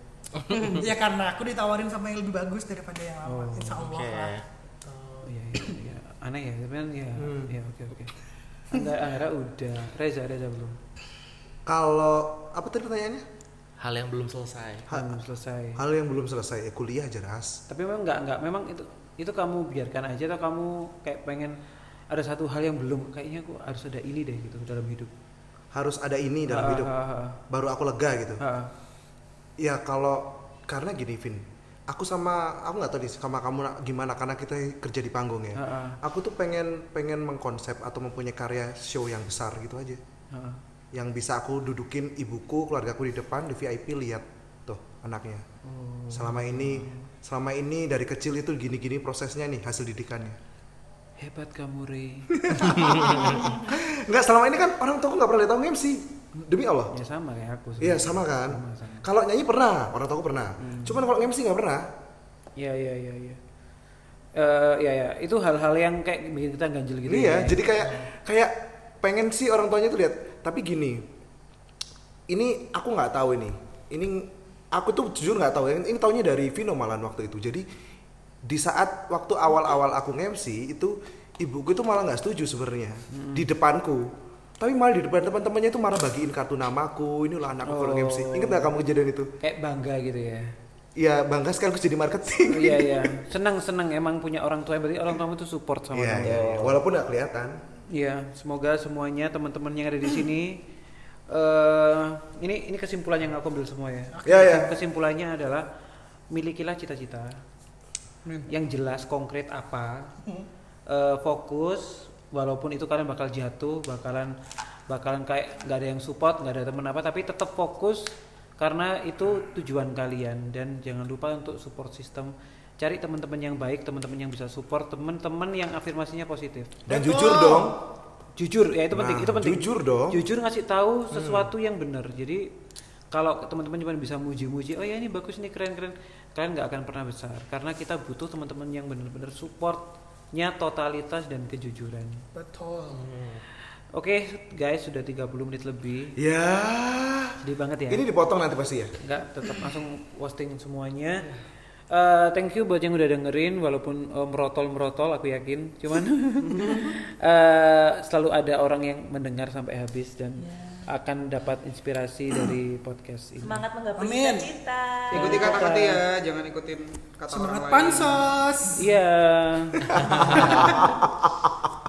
Speaker 4: ya karena aku ditawarin sama yang lebih bagus daripada yang lama. Insya Allah lah. Tuh.
Speaker 2: Hmm.
Speaker 1: Oh, iya, iya, iya. Aneh ya, tapi kan ya, ya oke oke. Enggak, Ahra udah. Reza, Reza belum.
Speaker 2: Kalau apa tadi pertanyaannya?
Speaker 3: Hal yang belum selesai.
Speaker 2: Ha-
Speaker 1: Belum selesai.
Speaker 2: Hal yang belum selesai ya kuliah jelas.
Speaker 1: Tapi memang enggak, enggak. Memang itu itu kamu biarkan aja atau kamu kayak pengen ada satu hal yang belum kayaknya aku harus ada ini deh gitu dalam hidup.
Speaker 2: Harus ada ini dalam
Speaker 1: Ah,
Speaker 2: hidup.
Speaker 1: ah,
Speaker 2: Baru aku lega gitu.
Speaker 1: ah, ah.
Speaker 2: Ya kalau karena gini Vin, aku sama aku nggak tahu nih sama kamu na- gimana karena kita kerja di panggung ya.
Speaker 1: Ah, ah.
Speaker 2: Aku tuh pengen pengen mengkonsep atau mempunyai karya show yang besar gitu aja.
Speaker 1: Ah, ah.
Speaker 2: Yang bisa aku dudukin ibuku, keluargaku di depan, di VIP lihat tuh anaknya.
Speaker 1: Oh.
Speaker 2: Selama ini selama ini dari kecil itu gini-gini prosesnya nih hasil didikannya.
Speaker 1: Hebat kamu, Re.
Speaker 2: Nggak selama ini kan orang tuaku nggak pernah lihat aku MC demi Allah.
Speaker 1: ya sama kayak aku.
Speaker 2: Iya
Speaker 1: sebenarnya.
Speaker 2: sama kan.
Speaker 1: Sama, sama. Hmm.
Speaker 2: Kalau nyanyi pernah, orang tuaku pernah. Cuman kalau MC nggak pernah.
Speaker 1: Iya, iya, iya, iya. Eh, ya, ya, itu hal-hal yang kayak bikin kita ganjil gitu.
Speaker 2: iya,
Speaker 1: ya.
Speaker 2: jadi kayak kayak pengen sih orang tuanya tuh lihat. Tapi gini, ini aku nggak tahu ini. Ini aku tuh jujur nggak tahu. ya. Ini, ini taunya dari Vino malahan waktu itu. Jadi di saat waktu awal-awal aku nge-MC itu ibuku itu malah nggak setuju sebenarnya
Speaker 1: Hmm.
Speaker 2: di depanku. Tapi malah di depan teman-temannya itu malah bagiin kartu namaku. Inilah anakku kalau
Speaker 1: Oh.
Speaker 2: nge-MC. Ingat nggak kamu kejadian itu?
Speaker 1: kayak bangga gitu ya.
Speaker 2: Iya, bangga sekarang aku jadi marketing.
Speaker 1: Iya, iya. Senang-senang emang punya orang tua berarti orang tua itu support sama
Speaker 2: Iya,
Speaker 1: kamu.
Speaker 2: iya, iya. Walaupun nggak kelihatan.
Speaker 1: Iya, semoga semuanya teman-teman yang ada di sini eh ini ini kesimpulan yang aku ambil semua ya.
Speaker 2: Iya, iya.
Speaker 1: Kesimpulannya adalah milikilah cita-cita yang jelas, konkret apa, eh, fokus walaupun itu kalian bakal jatuh, bakalan bakalan kayak nggak ada yang support, nggak ada teman apa, tapi tetap fokus karena itu tujuan kalian dan jangan lupa untuk support system cari teman-teman yang baik, teman-teman yang bisa support, teman-teman yang afirmasinya positif
Speaker 2: Dan jujur dong.
Speaker 1: jujur ya itu penting
Speaker 2: Nah,
Speaker 1: itu penting
Speaker 2: jujur dong. Hmm.
Speaker 1: jujur ngasih tahu sesuatu yang benar jadi kalau teman-teman cuma bisa muji-muji oh ya ini bagus nih keren-keren kalian nggak akan pernah besar karena kita butuh teman-teman yang benar-benar supportnya totalitas dan kejujuran
Speaker 4: Betul.
Speaker 1: oke guys sudah 30 menit lebih
Speaker 2: Ya.
Speaker 1: sedih banget ya
Speaker 2: Ini dipotong nanti pasti ya.
Speaker 1: nggak tetap langsung posting semuanya Eh, thank you buat yang udah dengerin walaupun merotol merotol aku yakin cuman eh, selalu ada orang yang mendengar sampai habis dan akan dapat inspirasi dari podcast ini
Speaker 5: Semangat menggapai
Speaker 4: Amin.
Speaker 5: cita-cita.
Speaker 6: Ikuti kata-kata ya, jangan ikutin kata
Speaker 4: Semangat
Speaker 6: orang lain.
Speaker 4: pansos.
Speaker 1: iya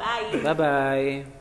Speaker 5: Bye.
Speaker 1: bye bye